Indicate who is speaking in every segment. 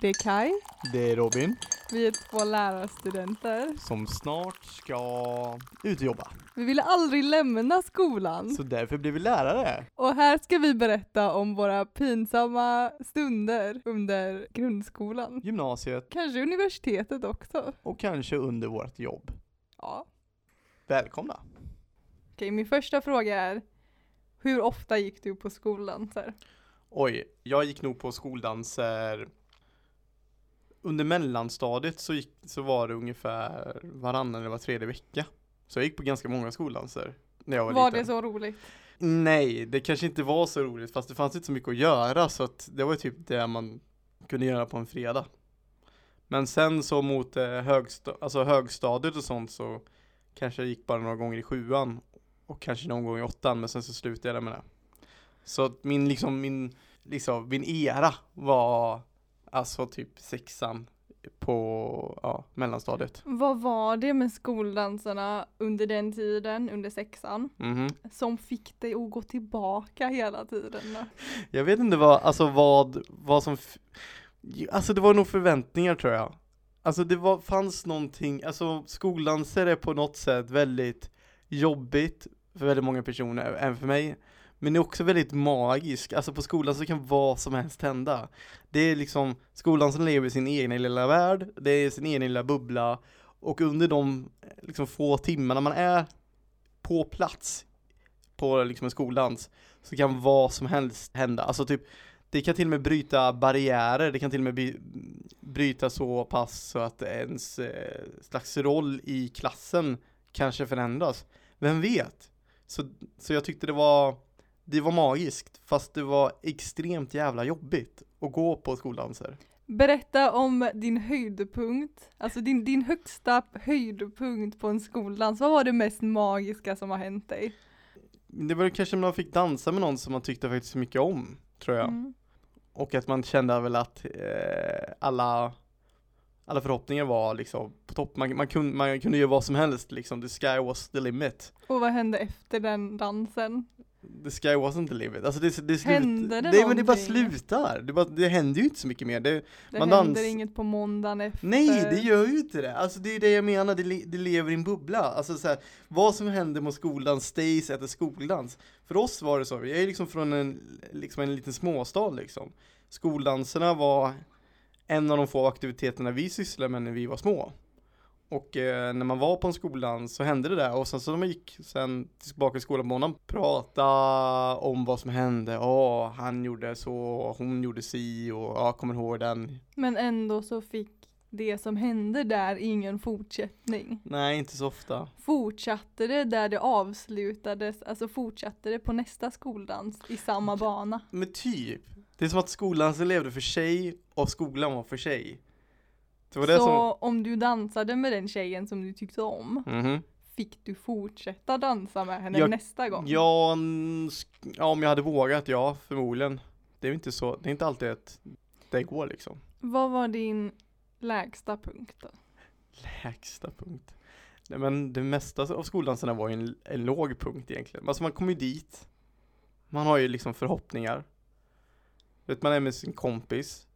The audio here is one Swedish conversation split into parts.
Speaker 1: Det är Kai.
Speaker 2: Det är Robin
Speaker 1: Vi är två lärarstudenter.
Speaker 2: som snart ska ut och jobba.
Speaker 1: Vi ville aldrig lämna skolan.
Speaker 2: Så därför blir vi lärare.
Speaker 1: Och här ska vi berätta om våra pinsamma stunder under grundskolan.
Speaker 2: Gymnasiet
Speaker 1: Kanske universitetet också.
Speaker 2: och kanske under vårt jobb.
Speaker 1: Ja.
Speaker 2: Välkomna!
Speaker 1: Okej, min första fråga är hur ofta gick du på skolan? Så här.
Speaker 2: Oj, jag gick nog på skoldanser under mellanstadiet så, gick, så var det ungefär varannan eller var tredje vecka. Så jag gick på ganska många skoldanser när jag var,
Speaker 1: Var,
Speaker 2: liten.
Speaker 1: det så roligt?
Speaker 2: Nej, det kanske inte var så roligt fast det fanns inte så mycket att göra så att det var typ det man kunde göra på en fredag. Men sen så mot eh, högsta, alltså högstadiet och sånt så kanske jag gick bara några gånger i sjuan och kanske någon gång i åttan men sen så slutade jag med det. Så att min liksom, min, liksom, min era var alltså typ sexan på ja, mellanstadiet.
Speaker 1: Vad var det med skoldanserna under den tiden, under sexan,
Speaker 2: Mhm.
Speaker 1: som fick dig att gå tillbaka hela tiden? då?
Speaker 2: Jag vet inte vad, alltså vad, vad som, f- alltså det var nog förväntningar tror jag. Alltså det var, fanns någonting, alltså skoldanser är på något sätt väldigt jobbigt för väldigt många personer, även för mig. Men det är också väldigt magisk, alltså på skolan så kan vad som helst hända. Det är liksom, skolan som lever i sin egna lilla värld, det är sin egen lilla bubbla och under de eh, liksom, få timmarna man är på plats på liksom en skoldans så kan vad som helst hända. Alltså typ, det kan till och med bryta barriärer, det kan till och med by- bryta så pass så att ens eh, slags roll i klassen kanske förändras. Vem vet? Så, så jag tyckte det var, det var magiskt, fast det var extremt jävla jobbigt att gå på skoldanser.
Speaker 1: Berätta om din höjdpunkt, alltså din, din högsta höjdpunkt på en skoldans. Vad var det mest magiska som har hänt dig?
Speaker 2: Det var kanske när man fick dansa med någon som man tyckte faktiskt mycket om, tror jag.
Speaker 1: Mm.
Speaker 2: Och att man kände väl att eh, alla, alla förhoppningar var liksom på topp. Man, man, kunde, man kunde göra vad som helst liksom. The sky was the limit.
Speaker 1: Och vad hände efter den dansen?
Speaker 2: The sky wasn't the limit. Alltså det, det slut,
Speaker 1: Hände det
Speaker 2: Nej men det bara
Speaker 1: någonting?
Speaker 2: slutar. Det, bara, det händer ju inte så mycket mer. Det,
Speaker 1: Det
Speaker 2: Man
Speaker 1: händer
Speaker 2: dans-
Speaker 1: inget på måndagen efter.
Speaker 2: nej
Speaker 1: Eh.
Speaker 2: det gör ju inte det. Alltså det är det jag menar. Det, le, det lever i en bubbla. Alltså så här, vad som händer med skolan stays at the skoldans. För oss var det så. Jag är liksom från en, liksom en liten småstad liksom. Skoldanserna var en av de få aktiviteterna vi sysslade med när vi var små. Och eh, när man var på en skoldans så hände det där och sen så när man gick sen tillbaka till skolan på morgonen prata om vad som hände. Ja, han gjorde så, hon gjorde si och ja, kommer ihåg den.
Speaker 1: Men ändå så fick det som hände där ingen fortsättning.
Speaker 2: Nej, inte så ofta.
Speaker 1: Fortsatte det där det avslutades, alltså fortsatte det på nästa skoldans i samma bana?
Speaker 2: Men typ, det är som att skolan så levde för sig och skolan var för sig. Det var det
Speaker 1: så
Speaker 2: som...
Speaker 1: om du dansade med den tjejen som du tyckte om,
Speaker 2: Mhm.
Speaker 1: fick du fortsätta dansa med henne
Speaker 2: Jag-
Speaker 1: nästa gång?
Speaker 2: Ja, mm, sk- ja, om jag hade vågat, ja, förmodligen. Det är ju inte så, det är inte alltid att det går liksom.
Speaker 1: Vad var din lägsta punkt då?
Speaker 2: Lägsta punkt. Nej, men det mesta av skoldanserna var ju en, en låg punkt egentligen. Alltså man kommer ju dit. Man har ju liksom förhoppningar. Du Vet, man är med sin kompis.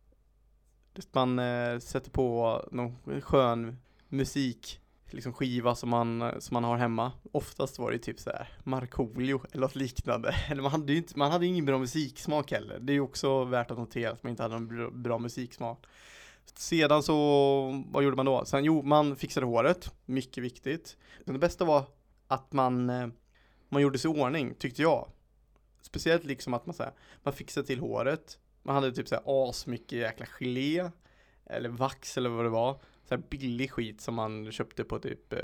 Speaker 2: Du Vet, man eh, sätter på någon skön musik. Liksom skiva som man, eh, som man har hemma. Oftast var det typ så här Markoolio eller något liknande. Eller man hade ju inte, man hade ju ingen bra musiksmak heller. Det är ju också värt att notera att man inte hade någon bra, bra musiksmak. Sedan så, vad gjorde man då? Sen, jo, man fixade håret, mycket viktigt. Men det bästa var att man, eh, man gjorde sig i ordning, tyckte jag. Speciellt liksom att man, så här, man fixade till håret, man hade typ så här asmycket jäkla gelé, eller vax eller vad det var. Så här billig skit som man köpte på typ eh,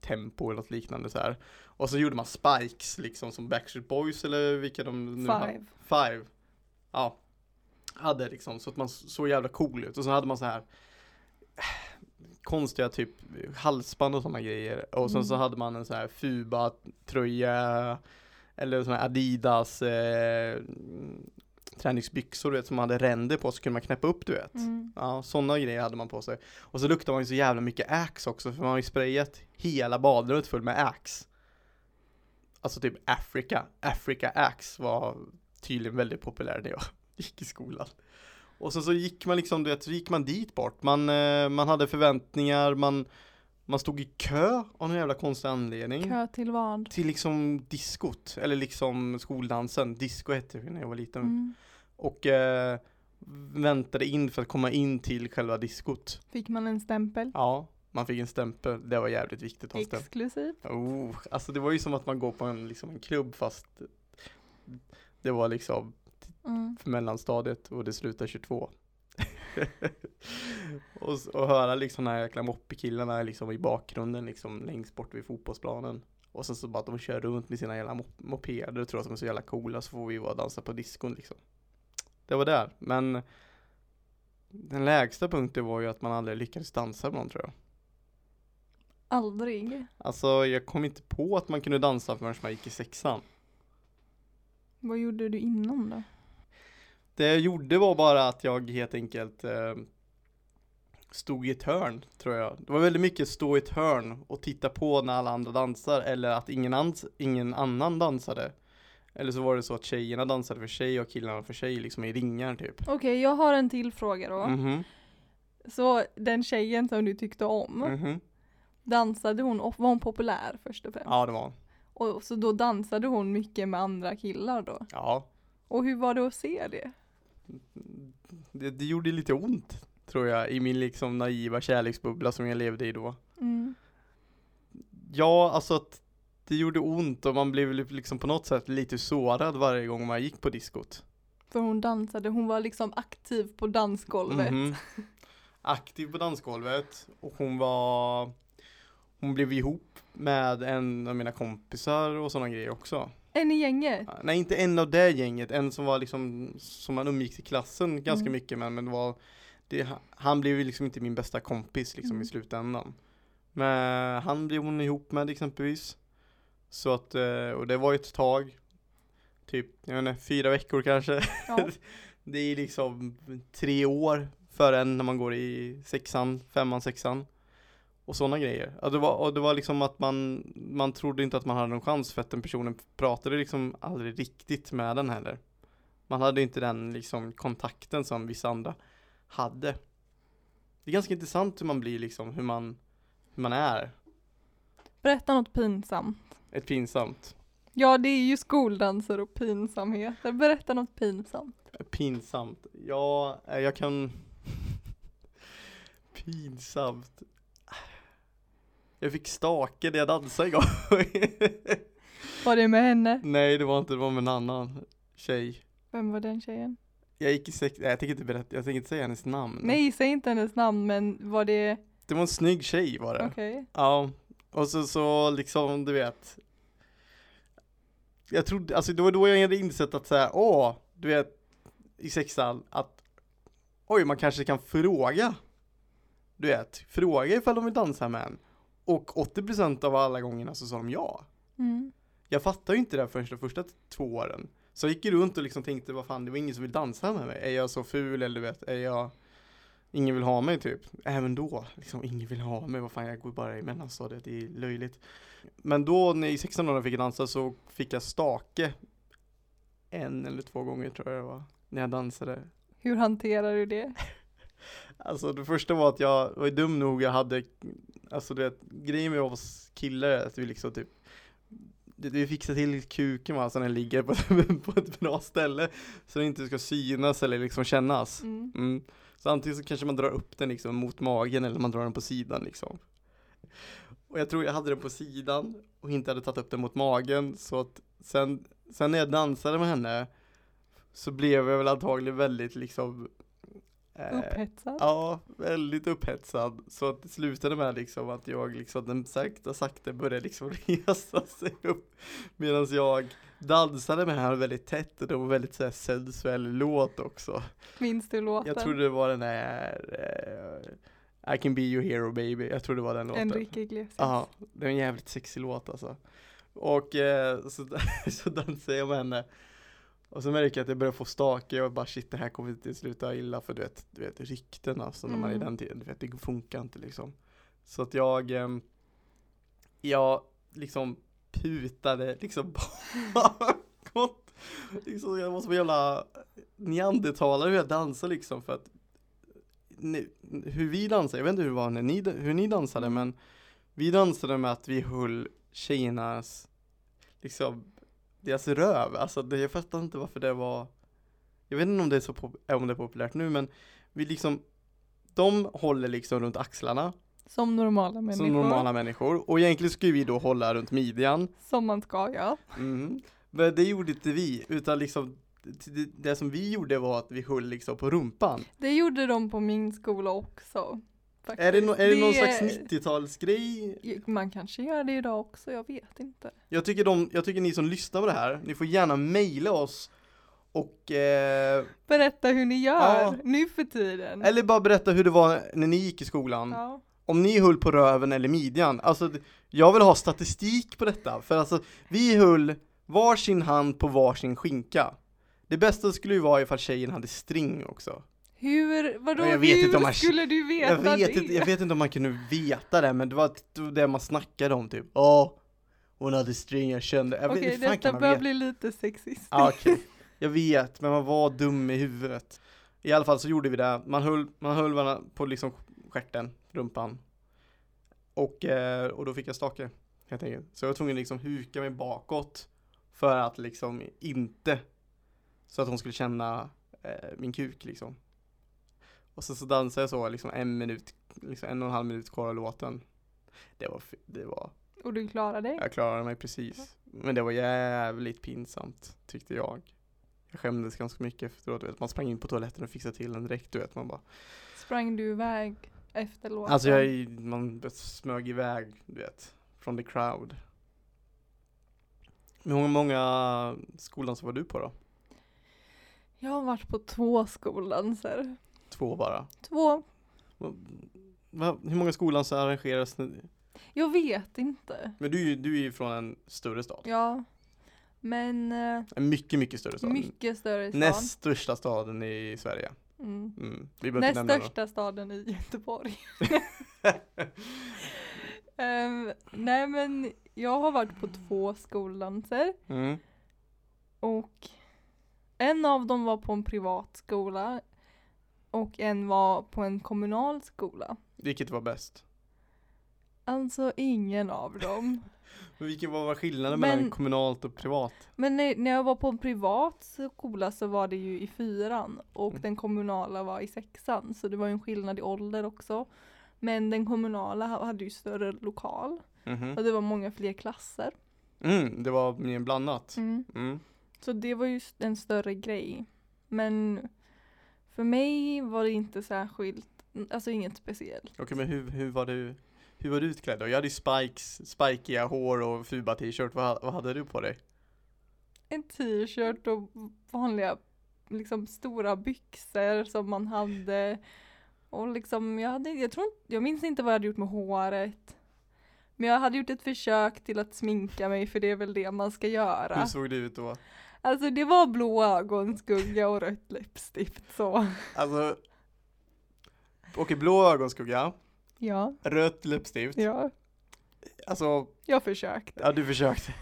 Speaker 2: Tempo eller något liknande så här. Och så gjorde man spikes liksom som Backstreet Boys eller vilka de nu hade.
Speaker 1: Five.
Speaker 2: Five. Ja. Hade liksom så att man såg jävla cool ut och så hade man så här eh, konstiga typ halsband och sådana grejer och sen så
Speaker 1: Mm.
Speaker 2: hade man en sån här Fuba tröja eller sån här Adidas eh, träningsbyxor du vet som man hade ränder på så kunde man knäppa upp du vet.
Speaker 1: Mm.
Speaker 2: Ja, sådana grejer hade man på sig. Och så luktade man ju så jävla mycket Axe också för man har ju sprayat hela badrummet full med Axe. Alltså typ Africa. Africa Axe var tydligen väldigt populär när jag gick i skolan. Och sen så gick man liksom, du vet, så gick man dit bort. Man, eh, man hade förväntningar, man, man stod i kö av någon jävla konstig anledning.
Speaker 1: Kö till vad?
Speaker 2: Till liksom diskot, eller liksom skoldansen. Disco hette det när jag var liten.
Speaker 1: Mm.
Speaker 2: Och eh, väntade in för att komma in till själva diskot.
Speaker 1: Fick man en stämpel?
Speaker 2: Ja, man fick en stämpel. Det var jävligt viktigt att ha stämpel.
Speaker 1: Exklusiv?
Speaker 2: Oh, alltså det var ju som att man går på en, liksom en klubb fast det var liksom
Speaker 1: Mm.
Speaker 2: för mellanstadiet och det slutar 22. och, s- och höra liksom de här jäkla moppekillarna liksom i bakgrunden liksom längst bort vid fotbollsplanen. Och sen så bara att de kör runt med sina jävla mop- mopeder och tror att de är så jävla coola så får vi vara och dansa på diskon liksom. Det var där, men den lägsta punkten var ju att man aldrig lyckades dansa med någon tror jag.
Speaker 1: Aldrig.
Speaker 2: Alltså jag kom inte på att man kunde dansa förrän man gick i sexan.
Speaker 1: Vad gjorde du innan då?
Speaker 2: Det jag gjorde var bara att jag helt enkelt eh, stod i ett hörn, tror jag. Det var väldigt mycket stå i ett hörn och titta på när alla andra dansar, eller att ingen, ans- ingen annan dansade. Eller så var det så att tjejerna dansade för sig och killarna för sig, liksom i ringar typ.
Speaker 1: Okej, jag har en till fråga då.
Speaker 2: Mhm,
Speaker 1: Så den tjejen som du tyckte om,
Speaker 2: mhm.
Speaker 1: dansade hon, och var hon populär först och främst?
Speaker 2: Ja, det var
Speaker 1: Och så då dansade hon mycket med andra killar då?
Speaker 2: Ja,
Speaker 1: Och hur var det att se det?
Speaker 2: det, det gjorde lite ont, tror jag, i min liksom naiva kärleksbubbla som jag levde i då.
Speaker 1: Mm.
Speaker 2: Ja, alltså att det gjorde ont och man blev liksom på något sätt lite sårad varje gång man gick på diskot.
Speaker 1: För hon dansade, hon var liksom aktiv på dansgolvet.
Speaker 2: Mhm. Aktiv på dansgolvet och hon var Hon blev ihop med en av mina kompisar och sådana grejer också.
Speaker 1: En i gänget?
Speaker 2: Nej inte en av det gänget, en som var liksom Som man umgicks i klassen ganska
Speaker 1: Mm.
Speaker 2: mycket med men det var det, Han blev ju liksom inte min bästa kompis liksom
Speaker 1: Mm.
Speaker 2: i slutändan. Men han blev hon ihop med exempelvis. Så att, eh, och det var ju ett tag Typ, jag vet inte, fyra veckor kanske
Speaker 1: Ja.
Speaker 2: det är liksom tre år före en när man går i sexan, femman, sexan. Och sådana grejer. Ja, det, var, och det var liksom att man, man trodde inte att man hade någon chans för att den personen pratade liksom aldrig riktigt med den heller. Man hade inte den liksom kontakten som vissa andra hade. Det är ganska intressant hur man blir liksom, hur man, hur man är.
Speaker 1: Berätta något pinsamt.
Speaker 2: Ett pinsamt.
Speaker 1: Ja, det är ju skoldanser och pinsamheter. Berätta något pinsamt.
Speaker 2: Pinsamt. Ja, eh, jag kan... Pinsamt. Jag fick stake när jag dansade igår.
Speaker 1: Var det med henne?
Speaker 2: Nej, det var inte, det var med en annan tjej.
Speaker 1: Vem var den tjejen?
Speaker 2: Jag gick i sex, nej, jag tänker inte berätta, jag tänker inte säga hennes namn.
Speaker 1: Nej, säg inte hennes namn, men var det...
Speaker 2: Det var en snygg tjej var det.
Speaker 1: Okej.
Speaker 2: Ja, och så, så liksom, du vet. Jag trodde, alltså det var då jag hade insett att säga, åh, du vet, i sexan, att oj, man kanske kan fråga. Du vet, fråga ifall de vill dansa med en. Och 80% av alla gångerna så sa de ja.
Speaker 1: Mm.
Speaker 2: Jag fattade ju inte det här förrän de första två åren. Så jag gick ju runt och liksom tänkte, vad fan, det var ingen som vill dansa med mig. Är jag så ful eller du vet, är jag, ingen vill ha mig typ. Även då, liksom ingen vill ha mig, vad fan, jag går bara i mellanstadiet, det är löjligt. Men då när jag i 16 åren fick jag dansa så fick jag stake en eller två gånger tror jag det var, när jag dansade.
Speaker 1: Hur hanterar du det?
Speaker 2: Alltså det första var att jag var dum nog, jag hade, alltså du vet, grejen med oss killar är att vi liksom typ du- vi fixar till kuken va, så den ligger på, på ett bra ställe så den inte ska synas eller liksom kännas.
Speaker 1: Mm.
Speaker 2: Mm. Så antingen så kanske man drar upp den liksom mot magen eller man drar den på sidan liksom. Och jag tror jag hade den på sidan och inte hade tagit upp den mot magen så att sen, sen när jag dansade med henne så blev jag väl antagligen väldigt liksom eh,
Speaker 1: Upphetsad?
Speaker 2: Ja, väldigt upphetsad. Så att det slutade med liksom att jag liksom, den sakta sakta började liksom resa sig upp. Medan jag dansade med henne väldigt tätt och det var väldigt så här sensuell låt också.
Speaker 1: Minns du låten?
Speaker 2: Jag tror det var den här eh, I can be your hero baby. Jag tror det var den låten.
Speaker 1: Enrique Iglesias.
Speaker 2: Ja, det är en jävligt sexig låt alltså. Och eh, så, så dansade jag med henne. Och så märker jag att jag börjar få stake och bara shit det här kommer inte sluta illa för du vet, du vet rykten alltså när man är i
Speaker 1: Mm.
Speaker 2: den tiden, du vet det funkar inte liksom. Så att jag, ehm, jag liksom putade liksom bakåt liksom, jag måste vara jävla neandertalare hur jag dansar liksom för att ni, hur vi dansade, jag vet inte hur det var när ni, hur ni dansade men vi dansade med att vi höll tjejernas liksom deras röv, alltså det, jag fattar inte varför det var jag vet inte om det är så pop- eh, om det är populärt nu men vi liksom de håller liksom runt axlarna
Speaker 1: Som normala människor.
Speaker 2: som normala människor och egentligen skulle vi då hålla runt midjan
Speaker 1: Som man ska göra.
Speaker 2: Mm. Men det gjorde inte vi, utan liksom det, det som vi gjorde var att vi höll liksom på rumpan.
Speaker 1: Det gjorde de på min skola också. faktiskt.
Speaker 2: Är det, no, är det någon
Speaker 1: Det-
Speaker 2: slags 90-talsgrej?
Speaker 1: Man kanske gör det idag också, jag vet inte.
Speaker 2: Jag tycker, de, jag tycker ni som lyssnar på det här, ni får gärna mejla oss och eh,
Speaker 1: Mm. Berätta hur ni gör
Speaker 2: Ja.
Speaker 1: nu för tiden.
Speaker 2: eller bara berätta hur det var när ni gick i skolan.
Speaker 1: ja.
Speaker 2: Om ni höll på röven eller midjan. Alltså, d- jag vill ha statistik på detta. För alltså, vi höll varsin hand på varsin skinka. Det bästa skulle ju vara ifall tjejen hade string också.
Speaker 1: Hur, vadå,
Speaker 2: Jag vet
Speaker 1: hur
Speaker 2: inte om man-
Speaker 1: skulle du veta
Speaker 2: Jag vet,
Speaker 1: det?
Speaker 2: inte, jag vet inte om man kunde veta det, men det var t- det man snackade om typ. Ja, hon hade string, jag kände. Jag vet,
Speaker 1: Okej,
Speaker 2: hur fan
Speaker 1: detta
Speaker 2: kan man
Speaker 1: börjar
Speaker 2: veta?
Speaker 1: bli lite sexistiskt.
Speaker 2: Ja, okej. Jag vet, men man var dum i huvudet. I alla fall så gjorde vi det. Man höll, man höll varandra på liksom stjärten, rumpan. Och, eh, och då fick jag stake, helt enkelt. Så jag var tvungen att liksom huka mig bakåt för att liksom inte, så att hon skulle känna eh, min kuk liksom. Och sen så dansade jag så liksom en minut, liksom en och en halv minut kvar av låten. Det var, f- det var
Speaker 1: Och du klarar dig?
Speaker 2: jag klarade mig precis. Men det var jävligt pinsamt, tyckte jag. Jag skämdes ganska mycket efteråt, du vet. Man sprang in på toaletten och fixade till den direkt, du vet. Man bara,
Speaker 1: Sprang du iväg efter låten?
Speaker 2: alltså jag, man smög iväg, du vet, från the crowd. Hur många, många skolan så var du på då?
Speaker 1: jag har varit på två skoldanser.
Speaker 2: Två bara.
Speaker 1: Två?
Speaker 2: Va, va, hur många skolan så arrangeras nu?
Speaker 1: Jag vet inte.
Speaker 2: Men du, är ju- du är ju från en större stad.
Speaker 1: Ja. Men eh,
Speaker 2: En mycket, mycket större stad.
Speaker 1: mycket större stad.
Speaker 2: Näst största staden i Sverige.
Speaker 1: Mm.
Speaker 2: Mm. Vi behöver
Speaker 1: Näst
Speaker 2: inte nämna några.
Speaker 1: största staden i Göteborg. Ehm, nej men jag har varit på två skoldanser
Speaker 2: Mm.
Speaker 1: och en av dem var på en privat skola och en var på en kommunal skola.
Speaker 2: Vilket var bäst?
Speaker 1: Alltså ingen av dem.
Speaker 2: Men vilken var var skillnaden
Speaker 1: Men-
Speaker 2: mellan kommunalt och privat?
Speaker 1: Men när, när jag var på en privat skola så var det ju i fyran och
Speaker 2: Mm.
Speaker 1: den kommunala var i sexan så det var ju en skillnad i ålder också. Men den kommunala hade ju större lokal och
Speaker 2: Mhm.
Speaker 1: det var många fler klasser.
Speaker 2: Mm, det var mer blandat. Mm.
Speaker 1: Så det var ju s- en större grej. Men för mig var det inte särskilt, alltså inget speciellt.
Speaker 2: Okej, men hur, hur var du hur var du utklädd då? Jag hade ju spikes, spikiga hår och fuba t-shirt. Vad, ha- vad hade du på dig?
Speaker 1: En t-shirt och vanliga liksom stora byxor som man hade. Och liksom, jag, hade, jag, tror, inte- jag minns inte vad jag hade gjort med håret. Men jag hade gjort ett försök till att sminka mig för det är väl det man ska
Speaker 2: Hur
Speaker 1: göra.
Speaker 2: såg du ut då?
Speaker 1: Alltså det var blå ögonskugga och rött läppstift så.
Speaker 2: Alltså, okej, blå ögonskugga,
Speaker 1: Ja,
Speaker 2: rött läppstift.
Speaker 1: ja,
Speaker 2: Alltså,
Speaker 1: jag försökte.
Speaker 2: ja du försökte.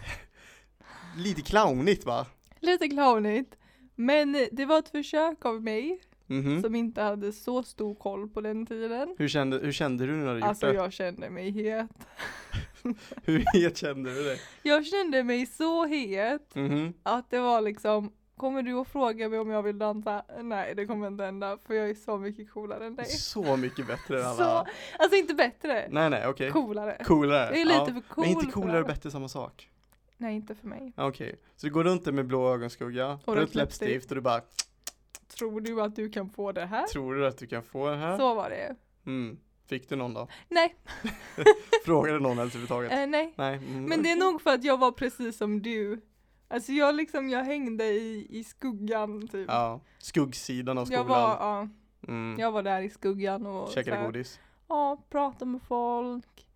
Speaker 2: Lite clownigt va?
Speaker 1: Lite clownigt. Men det var ett försök av mig
Speaker 2: Mhm.
Speaker 1: som inte hade så stor koll på den tiden.
Speaker 2: Hur, kände, hur kände du när du hade gjort
Speaker 1: Alltså
Speaker 2: det?
Speaker 1: jag kände mig het.
Speaker 2: Hur het kände du dig?
Speaker 1: Jag kände mig så het
Speaker 2: Mhm.
Speaker 1: att det var liksom Kommer du att fråga mig om jag vill dansa? Nej det kommer inte hända för jag är så mycket coolare än dig.
Speaker 2: Så mycket bättre än alla.
Speaker 1: Så, alltså inte bättre,
Speaker 2: Nej, nej, okej.
Speaker 1: coolare.
Speaker 2: Coolare.
Speaker 1: Jag är
Speaker 2: ja.
Speaker 1: lite för cool.
Speaker 2: Men inte
Speaker 1: för
Speaker 2: coolare och
Speaker 1: det.
Speaker 2: bättre samma sak.
Speaker 1: Nej inte för mig.
Speaker 2: Ja, Okej, så du går runt där med blå ögonskugga,
Speaker 1: Och
Speaker 2: rött
Speaker 1: rött läppstift.
Speaker 2: läppstift och du bara,
Speaker 1: Tror du att du kan få det här?
Speaker 2: tror du att du kan få den här?
Speaker 1: Så var det.
Speaker 2: Mm. Fick du någon då?
Speaker 1: Nej,
Speaker 2: Frågade någon ens överhuvudtaget?
Speaker 1: eh, nej.
Speaker 2: Nej. Mm.
Speaker 1: Men det är nog för att jag var precis som du. Alltså jag liksom, jag hängde i, i skuggan typ.
Speaker 2: Ja, skuggsidan av
Speaker 1: jag,
Speaker 2: skolan.
Speaker 1: var, ja,
Speaker 2: mm.
Speaker 1: jag var där i skuggan och så
Speaker 2: Käkade
Speaker 1: här,
Speaker 2: godis.
Speaker 1: ja, pratade med folk,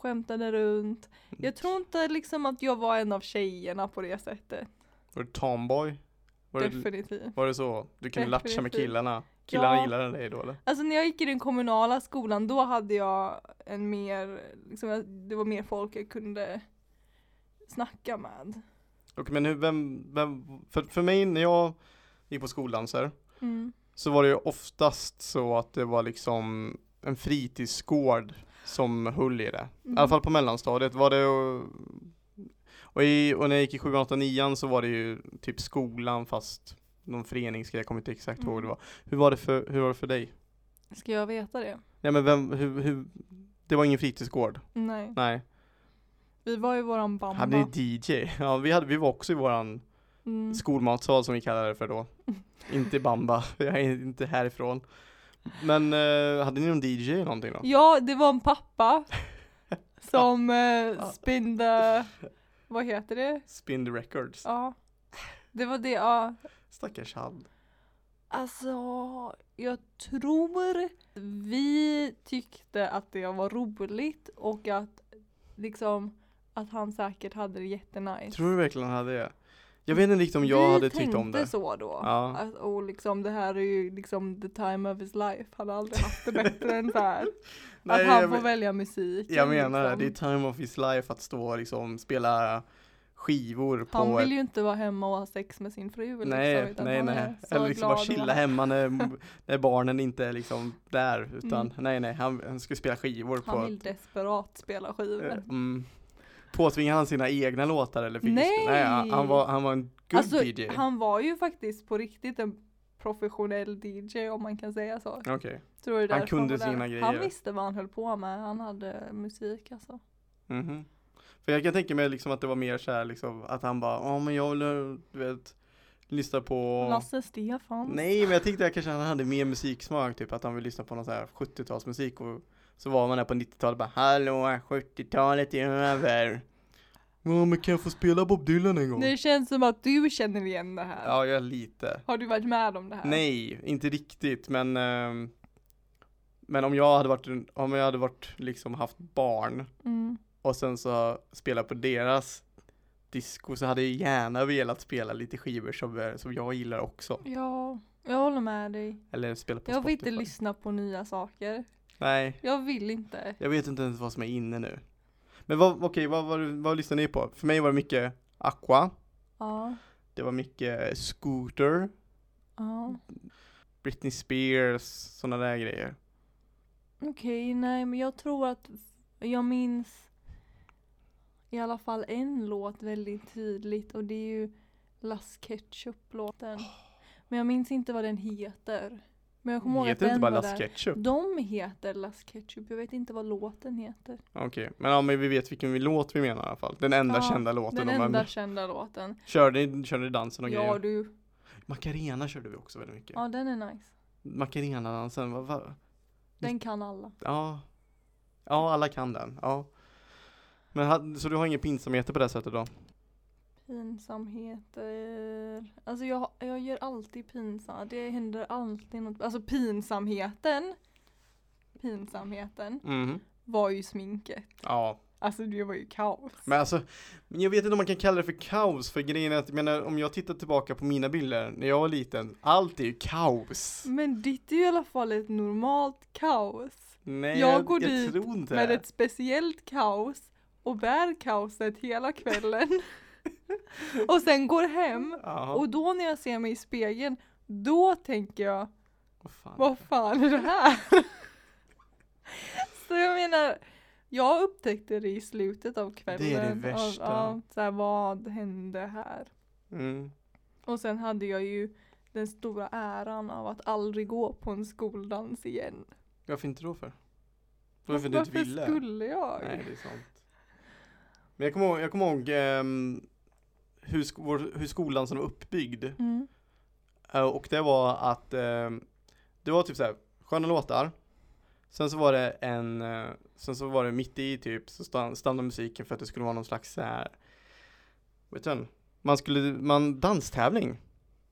Speaker 1: skämtade runt. Jag tror inte liksom att jag var en av tjejerna på det sättet.
Speaker 2: Var du tomboy? Var det,
Speaker 1: Definitivt.
Speaker 2: var det så? Du kunde latcha med
Speaker 1: Definitivt.
Speaker 2: killarna? Killarna
Speaker 1: Ja.
Speaker 2: gillade dig då eller?
Speaker 1: Alltså när jag gick i den kommunala skolan då hade jag en mer, liksom, jag- det var mer folk jag kunde snacka med.
Speaker 2: Och, men hur, vem, vem, för, för mig när jag gick på skoldanser
Speaker 1: Mm.
Speaker 2: så var det ju oftast så att det var liksom en fritidsgård som höll i det. I
Speaker 1: Mm.
Speaker 2: alla fall på mellanstadiet var det och, och, i, och när jag gick i 7, 8, 9 så var det ju typ skolan fast någon föreningsgrej, jag kommer inte exakt ihåg hur det var. Hur var det för, hur var det för dig?
Speaker 1: Ska jag veta det?
Speaker 2: Ja men vem, hur, hur, det var ingen
Speaker 1: Mm.
Speaker 2: fritidsgård?
Speaker 1: Nej.
Speaker 2: Nej.
Speaker 1: Vi var i våran bamba.
Speaker 2: Han blev DJ. Ja vi, hade, vi var också i våran
Speaker 1: Mm.
Speaker 2: skolmatsal som vi kallade det för då. inte bamba, jag är inte härifrån. Men eh, hade ni någon DJ eller någonting då?
Speaker 1: Ja, det var en pappa som eh, spinde, vad heter det?
Speaker 2: Spin the records.
Speaker 1: Ja, det var det. Ja.
Speaker 2: Stackars han.
Speaker 1: Alltså, jag tror vi tyckte att det var roligt och att liksom att han säkert hade det jättenice.
Speaker 2: Tror du verkligen han hade det? Jag vet inte riktigt om jag hade tyckt om
Speaker 1: Vi
Speaker 2: det.
Speaker 1: tänkte så då.
Speaker 2: Ja.
Speaker 1: Att, och liksom det här är ju liksom the time of his life. Han har aldrig haft det bättre än så här.
Speaker 2: Nej,
Speaker 1: att han
Speaker 2: jag
Speaker 1: får
Speaker 2: men-
Speaker 1: välja musik.
Speaker 2: Jag menar det,
Speaker 1: liksom.
Speaker 2: det är typ time of his life att stå och liksom spela skivor
Speaker 1: Han
Speaker 2: på
Speaker 1: vill
Speaker 2: ett...
Speaker 1: ju inte vara hemma och ha sex med sin fru.
Speaker 2: Nej,
Speaker 1: liksom, utan
Speaker 2: nej,
Speaker 1: han
Speaker 2: nej.
Speaker 1: är så
Speaker 2: Eller liksom bara
Speaker 1: glad och
Speaker 2: chilla
Speaker 1: han-
Speaker 2: hemma när, när barnen inte är liksom där. Utan
Speaker 1: Mm.
Speaker 2: nej, nej, han, han skulle spela skivor på...
Speaker 1: Han vill desperat spela skivor.
Speaker 2: Mm. Påtvingade han sina egna låtar eller fick
Speaker 1: Nej!
Speaker 2: Nej han, han, var, han var en good
Speaker 1: Alltså,
Speaker 2: DJ.
Speaker 1: han var ju faktiskt på riktigt en professionell DJ om man kan säga så.
Speaker 2: Okej,
Speaker 1: Tror det
Speaker 2: Han
Speaker 1: därför
Speaker 2: kunde
Speaker 1: var där.
Speaker 2: sina
Speaker 1: Han
Speaker 2: grejer.
Speaker 1: visste vad han höll på med. Han hade musik alltså.
Speaker 2: mhm. För jag kan tänka mig liksom att det var mer så här liksom att han bara, ja men jag vill, eh, du vet, lyssna på
Speaker 1: Lasse Stefans.
Speaker 2: Nej men jag tänkte att kanske han hade mer musiksmak typ att han vill lyssna på någon så här 70-talsmusik och så var man där på 90-talet bara Hallå 70-talet är över Ja men kan jag få spela Bob Dylan en gång?
Speaker 1: Det känns som att du känner igen det här.
Speaker 2: Ja jag lite
Speaker 1: Har du varit med om det här?
Speaker 2: Nej inte riktigt men ehm, Men om jag hade varit en- om jag hade varit liksom haft barn
Speaker 1: Mm.
Speaker 2: och sen så spelat på deras disco så hade jag gärna velat spela lite skivor som, eh, som jag gillar också
Speaker 1: Ja, jag håller med dig.
Speaker 2: Eller spela på
Speaker 1: Jag vill inte
Speaker 2: Spotify.
Speaker 1: lyssna på nya saker.
Speaker 2: Nej
Speaker 1: Jag vill inte.
Speaker 2: Jag vet inte ens vad som är inne nu. Men vad, okej, vad, vad, vad lyssnar ni på? För mig var det mycket Aqua,
Speaker 1: Ja.
Speaker 2: det var mycket Scooter,
Speaker 1: ja.
Speaker 2: Britney Spears, sådana där grejer.
Speaker 1: Okej, nej men jag tror att jag minns i alla fall en låt väldigt tydligt och det är ju Las Ketchup-låten. Men jag minns inte vad den heter. Men jag kommer ihåg att
Speaker 2: Heter det inte
Speaker 1: den
Speaker 2: bara
Speaker 1: var
Speaker 2: Las
Speaker 1: där.
Speaker 2: Ketchup?
Speaker 1: De heter Las Ketchup, jag vet inte vad låten heter.
Speaker 2: Okej, men, ja, men vi vet vilken vi- låt vi menar i alla fall. Den enda
Speaker 1: Ja,
Speaker 2: kända låten.
Speaker 1: Den
Speaker 2: om man-
Speaker 1: enda kända låten.
Speaker 2: Körde, ni- körde ni dansen och
Speaker 1: Ja
Speaker 2: grejer?
Speaker 1: du,
Speaker 2: Macarena körde vi också väldigt mycket.
Speaker 1: ja den är nice.
Speaker 2: Macarena-dansen, vad, vad?
Speaker 1: Den kan alla.
Speaker 2: Ja. ja, alla kan den. Ja. Men, ha- så du har inga pinsamheter på det sättet då?
Speaker 1: Pinsamheter. Alltså jag, jag gör alltid pinsamma. Det händer alltid något. Alltså pinsamheten. Pinsamheten
Speaker 2: Mhm.
Speaker 1: var ju sminket.
Speaker 2: Ja,
Speaker 1: Alltså det var ju kaos.
Speaker 2: Men alltså, jag vet inte om man kan kalla det för kaos, för grejen är att, jag menar, om jag tittar tillbaka på mina bilder när jag var liten, allt är ju kaos.
Speaker 1: Men ditt är ju i alla fall ett normalt kaos.
Speaker 2: Nej,
Speaker 1: Jag
Speaker 2: jag,
Speaker 1: går
Speaker 2: jag
Speaker 1: dit
Speaker 2: tror inte
Speaker 1: Med
Speaker 2: det.
Speaker 1: ett speciellt kaos. Och bär kaoset hela kvällen. och sen går hem.
Speaker 2: Jaha,
Speaker 1: Och då när jag ser mig i spegeln. Då tänker jag
Speaker 2: vad fan.
Speaker 1: Vad fan är det här? så jag menar, jag upptäckte det i slutet av kvällen.
Speaker 2: Det är det
Speaker 1: av-
Speaker 2: värsta.
Speaker 1: av så här, vad hände här?
Speaker 2: Mm.
Speaker 1: Och sen hade jag ju den stora äran av att aldrig gå på en skoldans igen.
Speaker 2: Varför inte då för? Varför du inte ville?
Speaker 1: skulle jag?
Speaker 2: Nej, det är sant. Men jag kommer ihåg, jag kommer ihåg ehm, hur, sk- vår, hur skolan som var uppbyggd.
Speaker 1: Mm.
Speaker 2: Eh, Och det var att ehm, det var typ så här sköna låtar. Sen så var det en, eh, sen så var det mitt i typ så stan- stannade musiken för att det skulle vara någon slags så här, vet du, man skulle, man danstävling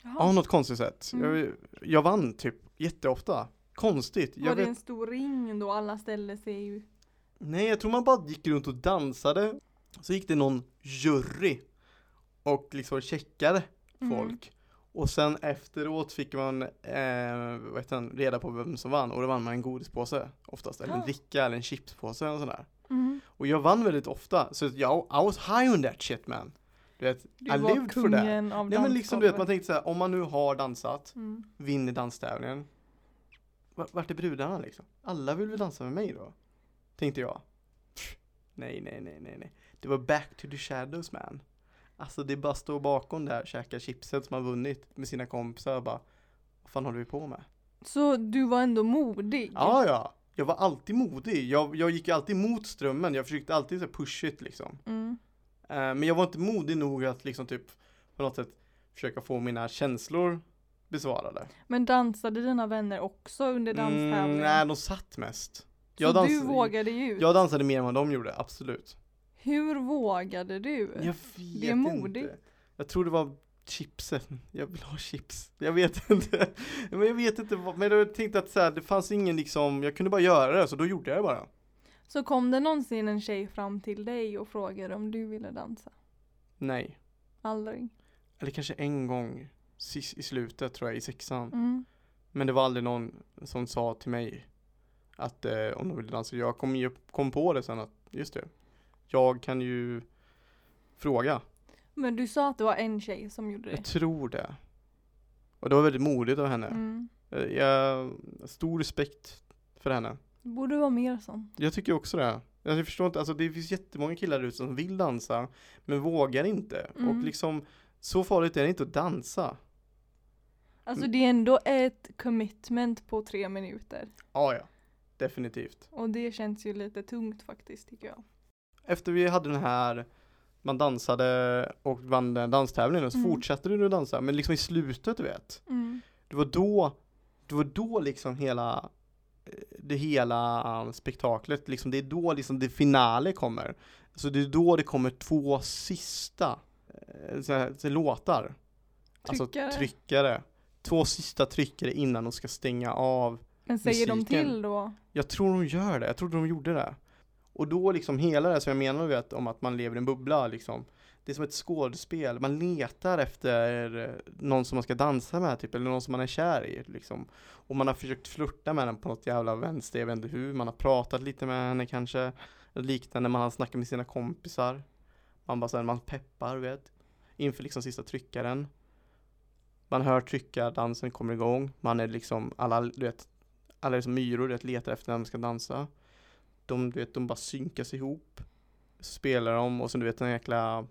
Speaker 1: Jaha,
Speaker 2: av något konstigt sätt.
Speaker 1: Mm.
Speaker 2: Jag, jag vann typ jätteofta. Konstigt.
Speaker 1: var
Speaker 2: Jag
Speaker 1: det
Speaker 2: vet,
Speaker 1: en stor ring då alla ställde sig? ju-
Speaker 2: Nej, jag tror man bara gick runt och dansade. Så gick det någon jury och liksom checkade
Speaker 1: Mm.
Speaker 2: folk. Och sen efteråt fick man eh, vad heter han, reda på vem som vann och då vann man en godispåse oftast, eller en
Speaker 1: Ah.
Speaker 2: dricka eller en chipspåse och sådär.
Speaker 1: Mm.
Speaker 2: Och jag vann väldigt ofta, så att jag, I was high on that shit man. Du vet,
Speaker 1: Du var
Speaker 2: I lived for that.
Speaker 1: kungen av
Speaker 2: Nej men liksom du vet, man
Speaker 1: dansgolvet.
Speaker 2: tänkte så här, om man nu har dansat,
Speaker 1: Mm.
Speaker 2: vinner danstävlingen. Va- Vart är brudarna liksom? Alla vill väl dansa med mig då? Tänkte jag. Pff, Nej, nej, nej, nej, nej. Det var back to the shadows man. Alltså det är bara att stå bakom där, käka chipset som man vunnit med sina kompisar och bara, vad fan håller vi på med?
Speaker 1: Så du var ändå modig?
Speaker 2: Ja, ja. Jag var alltid modig. Jag, jag gick ju alltid mot strömmen. Jag försökte alltid så här, push it liksom.
Speaker 1: Mm.
Speaker 2: Eh, Men jag var inte modig nog att liksom typ på något sätt försöka få mina känslor besvarade.
Speaker 1: Men dansade dina vänner också under danstävlingen?
Speaker 2: Mm, nej, de satt mest.
Speaker 1: Så
Speaker 2: jag
Speaker 1: du
Speaker 2: dansade-
Speaker 1: vågade ju ut?
Speaker 2: Jag dansade mer än vad de gjorde, absolut.
Speaker 1: Hur vågade du?
Speaker 2: Jag vet
Speaker 1: Det är modigt.
Speaker 2: Inte. Jag tror det var chipsen. Jag vill ha chips. Jag vet inte. Men jag vet inte. vad- Men jag tänkte att så här, det fanns ingen liksom, jag kunde bara göra det så då gjorde jag det bara.
Speaker 1: Så kom det någonsin en tjej fram till dig och frågade om du ville dansa?
Speaker 2: Nej.
Speaker 1: Aldrig?
Speaker 2: Eller kanske en gång sis- i slutet tror jag, i sexan.
Speaker 1: Mm.
Speaker 2: Men det var aldrig någon som sa till mig att eh, om de ville dansa. Jag kom, ju, kom på det sen att, just det, jag kan ju fråga.
Speaker 1: Men du sa att det var en tjej som gjorde det?
Speaker 2: Jag tror det. Och det var väldigt modigt av henne.
Speaker 1: Mm.
Speaker 2: Eh, Jag, stor respekt för henne.
Speaker 1: Det borde vara mer sånt.
Speaker 2: Jag tycker också det. Jag förstår inte, alltså det finns jättemånga killar där ute som vill dansa men vågar inte. Och
Speaker 1: Mm.
Speaker 2: liksom, så farligt är det inte att dansa.
Speaker 1: Alltså
Speaker 2: Mm.
Speaker 1: det är ändå ett commitment på tre minuter.
Speaker 2: Ja, ja. Definitivt.
Speaker 1: Och det känns ju lite tungt faktiskt tycker jag.
Speaker 2: efter vi hade den här man dansade och vann den danstävlingen så
Speaker 1: Mm.
Speaker 2: fortsatte du att dansa men liksom i slutet du vet det var då det var då liksom hela eh, det hela eh, spektaklet liksom det är då liksom det finale kommer så det är då det kommer två sista eh, så här, så här låtar
Speaker 1: Tryckare.
Speaker 2: alltså tryckare två sista tryckare innan de ska stänga av
Speaker 1: Men säger
Speaker 2: Musiken.
Speaker 1: de till då?
Speaker 2: jag tror de gör det, jag trodde de gjorde det. Och då liksom hela det här som jag menar vet, om att man lever i en bubbla liksom. Det är som ett skådespel, man letar efter eh, någon som man ska dansa med typ, eller någon som man är kär i liksom. Och man har försökt flirta med den på något jävla vänster, jag vet inte hur, man har pratat lite med henne kanske. Eller liknande, man har snackat med sina kompisar. Man bara såhär, man peppar du vet. Inför liksom sista tryckaren. Man hör tryckardansen kommer igång, man är liksom, alla du vet, alla är som myror, du vet, letar efter när de ska dansa. De, du vet, de bara synkas ihop. Spelar de och sen du vet den jäkla,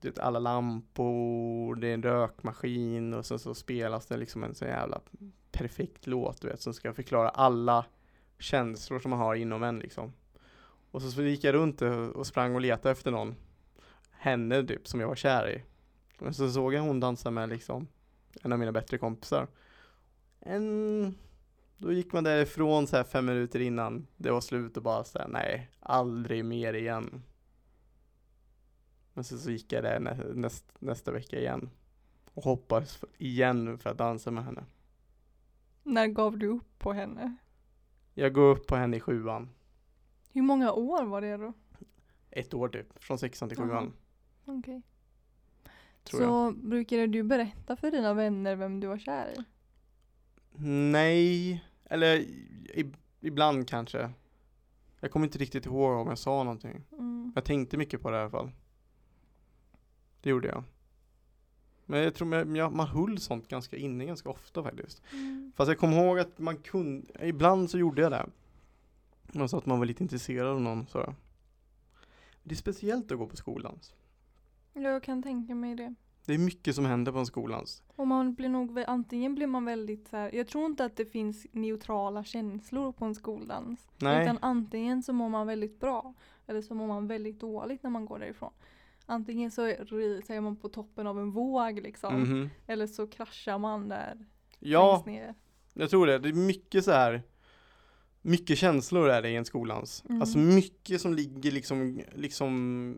Speaker 2: du vet alla lampor, det är en rökmaskin och sen så spelas det liksom en sån jävla perfekt låt du vet som ska förklara alla känslor som man har inom en liksom. Och så, så gick jag runt och sprang och letade efter någon, henne typ, som jag var kär i. Och så såg jag hon dansa med liksom en av mina bättre kompisar. En då gick man därifrån så här fem minuter innan det var slut och bara så här, nej, aldrig mer igen. Men sen så gick jag där nä näst, nästa vecka igen. Och hoppades för, igen för att dansa med henne.
Speaker 1: När gav du upp på henne?
Speaker 2: Jag går upp på henne i sjuan.
Speaker 1: Hur många år var det då?
Speaker 2: Ett år typ, från sexan till
Speaker 1: Jaha.
Speaker 2: sjuan.
Speaker 1: Okej.
Speaker 2: Tror
Speaker 1: så
Speaker 2: jag.
Speaker 1: brukade du berätta för dina vänner vem du var kär i?
Speaker 2: Nej, eller i, ibland kanske. Jag kommer inte riktigt ihåg om jag sa någonting.
Speaker 1: Mm.
Speaker 2: Jag tänkte mycket på det i alla fall. Det gjorde jag. Men jag tror man, jag- man höll sånt ganska inne ganska ofta faktiskt.
Speaker 1: Mm.
Speaker 2: Fast jag kommer ihåg att man kunde, ibland så gjorde jag det. Man sa att man var lite intresserad av någon så. Det är speciellt att gå på skolans.
Speaker 1: Jag kan tänka mig det.
Speaker 2: Det är mycket som händer på en skolans.
Speaker 1: Och man blir nog, vä- antingen blir man väldigt så här, jag tror inte att det finns neutrala känslor på en skoldans.
Speaker 2: Nej,
Speaker 1: Utan antingen så mår man väldigt bra eller så mår man väldigt dåligt när man går därifrån. Antingen så är så är man på toppen av en våg liksom.
Speaker 2: Mhm.
Speaker 1: Eller så kraschar man där
Speaker 2: ja,
Speaker 1: längst ner.
Speaker 2: Jag tror det. Det är mycket så här mycket känslor är det i en skolans.
Speaker 1: Mm.
Speaker 2: Alltså mycket som ligger liksom, liksom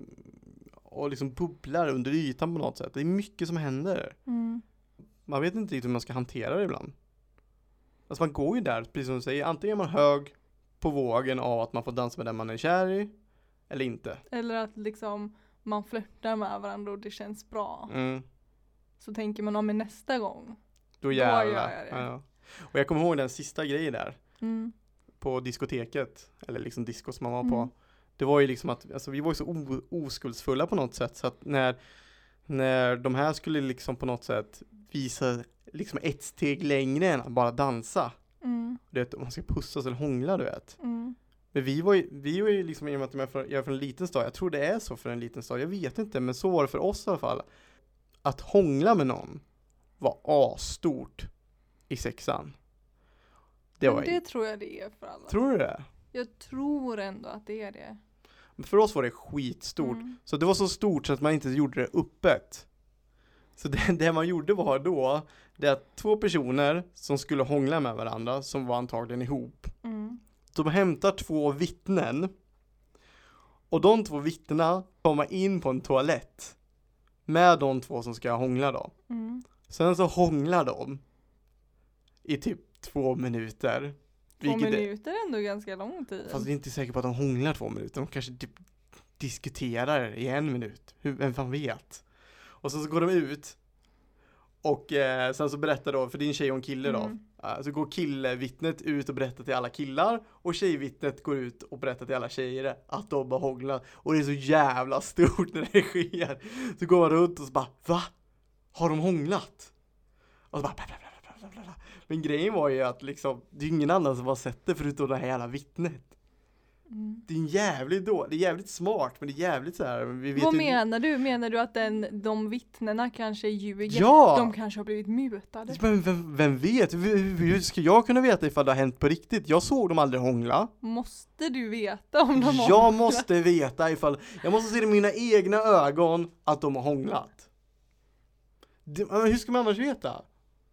Speaker 2: och liksom bubblar under ytan på något sätt. Det är mycket som händer.
Speaker 1: Mm.
Speaker 2: Man vet inte riktigt hur man ska hantera det ibland. Alltså man går ju där, precis som du säger, antingen är man hög på vågen av att man får dansa med den man är kär i, eller inte.
Speaker 1: Eller att liksom man flörtar med varandra och det känns bra.
Speaker 2: Mm.
Speaker 1: Så tänker man, ja men nästa gång.
Speaker 2: Då
Speaker 1: Då
Speaker 2: jävlar.
Speaker 1: gör jag det.
Speaker 2: Ja. Och jag kommer ihåg den sista grejen där.
Speaker 1: Mm.
Speaker 2: på diskoteket, eller liksom disco som man var på.
Speaker 1: Mm.
Speaker 2: Det var ju liksom att, alltså vi var ju så o- oskuldsfulla på något sätt så att när, när de här skulle liksom på något sätt visa liksom ett steg längre än att bara dansa.
Speaker 1: Mm,
Speaker 2: Du vet, om man ska pussas eller hångla du vet.
Speaker 1: mm,
Speaker 2: Men vi var ju, vi var ju liksom, i och med att jag är, från, jag är från en liten stad, jag tror det är så för en liten stad, jag vet inte, men så var det för oss i alla fall. Att hångla med någon var asstort i sexan. Det
Speaker 1: Men
Speaker 2: var
Speaker 1: det
Speaker 2: det...
Speaker 1: tror jag det är för alla.
Speaker 2: Tror du det?
Speaker 1: Jag tror ändå att det är det.
Speaker 2: För oss var det skitstort.
Speaker 1: Mm.
Speaker 2: Så det var så stort så att man inte gjorde det öppet. Så det, det man gjorde var då, det att två personer som skulle hångla med varandra, som var antagligen ihop,
Speaker 1: Mm.
Speaker 2: de hämtar två vittnen. Och de två vittnena kommer in på en toalett med de två som ska hångla då.
Speaker 1: Mm.
Speaker 2: Sen så hånglar de i typ två minuter.
Speaker 1: Två
Speaker 2: Vilket är-
Speaker 1: minuter är ändå ganska lång tid.
Speaker 2: Fast vi är inte säkra på att de hånglar två minuter, de kanske typ diskuterar i en minut, Hur, vem fan vet? Och sen så går de ut och eh, sen så berättar då, för din tjej och en kille då,
Speaker 1: Mm.
Speaker 2: eh, så går killvittnet ut och berättar till alla killar och tjejvittnet går ut och berättar till alla tjejer att de har hånglat och det är så jävla stort när det sker. Så går man runt och så bara, va? Har de hånglat? Och så bara, bla, bla, bla, bla, bla, bla, bla. Men grejen var ju att liksom, det är ju ingen annan som har sett det förutom det här jävla vittnet.
Speaker 1: Mm.
Speaker 2: Det är en jävligt då, det är jävligt smart men det är jävligt så här. men Vi vet
Speaker 1: Vad
Speaker 2: ju-
Speaker 1: menar du? Menar du att den, de vittnena kanske ljuger?
Speaker 2: Ja!
Speaker 1: De kanske har blivit mutade?
Speaker 2: Men vem, vem vet? Hur, hur- hur ska jag kunna veta ifall det har hänt på riktigt? Jag såg dem aldrig hångla.
Speaker 1: Måste du veta om de har
Speaker 2: Jag måste veta ifall, jag måste se det med mina egna ögon att de har hånglat. Det, men hur ska man annars veta?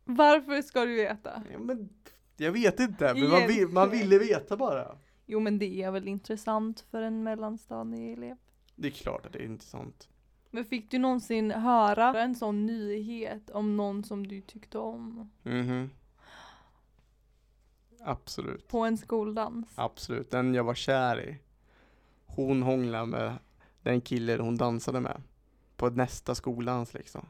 Speaker 1: Varför ska du veta?
Speaker 2: Ja, men, jag vet inte, men man, vill, man ville veta bara.
Speaker 1: Jo men det är väl intressant för en mellanstadig elev.
Speaker 2: Det är klart att det är intressant.
Speaker 1: Men fick du någonsin höra en sån nyhet om någon som du tyckte om?
Speaker 2: Mhm. Absolut.
Speaker 1: På en skoldans?
Speaker 2: Absolut, den jag var kär i. Hon hånglade med den killen hon dansade med. På nästa skoldans liksom.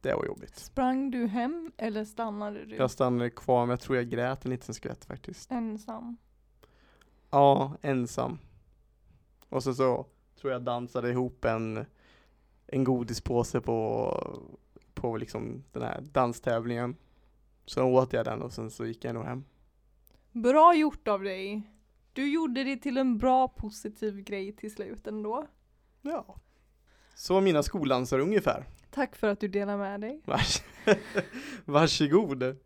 Speaker 2: Det var jobbigt.
Speaker 1: Sprang du hem eller stannade du
Speaker 2: Jag stannade kvar men jag tror jag grät en liten skvätt faktiskt.
Speaker 1: ensam?
Speaker 2: Ja, ensam. Och sen så tror jag dansade ihop en, en godispåse på, på liksom den här danstävlingen. Så åt jag den och sen så gick jag nog hem.
Speaker 1: Bra gjort av dig! Du gjorde det till en bra positiv grej till slut ändå.
Speaker 2: Ja. Så var mina skoldanser ungefär.
Speaker 1: Tack för att du delar med dig.
Speaker 2: Vars Varsågod.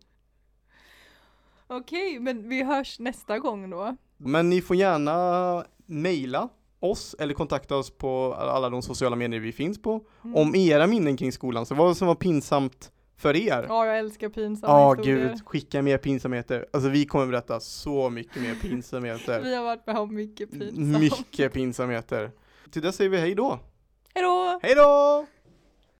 Speaker 1: Okej, men vi hörs nästa gång då.
Speaker 2: Men ni får gärna mejla oss eller kontakta oss på alla de sociala medier vi finns på
Speaker 1: Mm.
Speaker 2: om era minnen kring skolan. Så vad som var pinsamt för er?
Speaker 1: Ja, jag älskar pinsamma
Speaker 2: Ja,
Speaker 1: historier.
Speaker 2: gud, skicka mer pinsamheter. Alltså vi kommer berätta så mycket mer pinsamheter.
Speaker 1: Vi har varit med om mycket pinsamt.
Speaker 2: Mycket pinsamheter. Till dess säger vi hej då.
Speaker 1: Hej då!
Speaker 2: Hej då!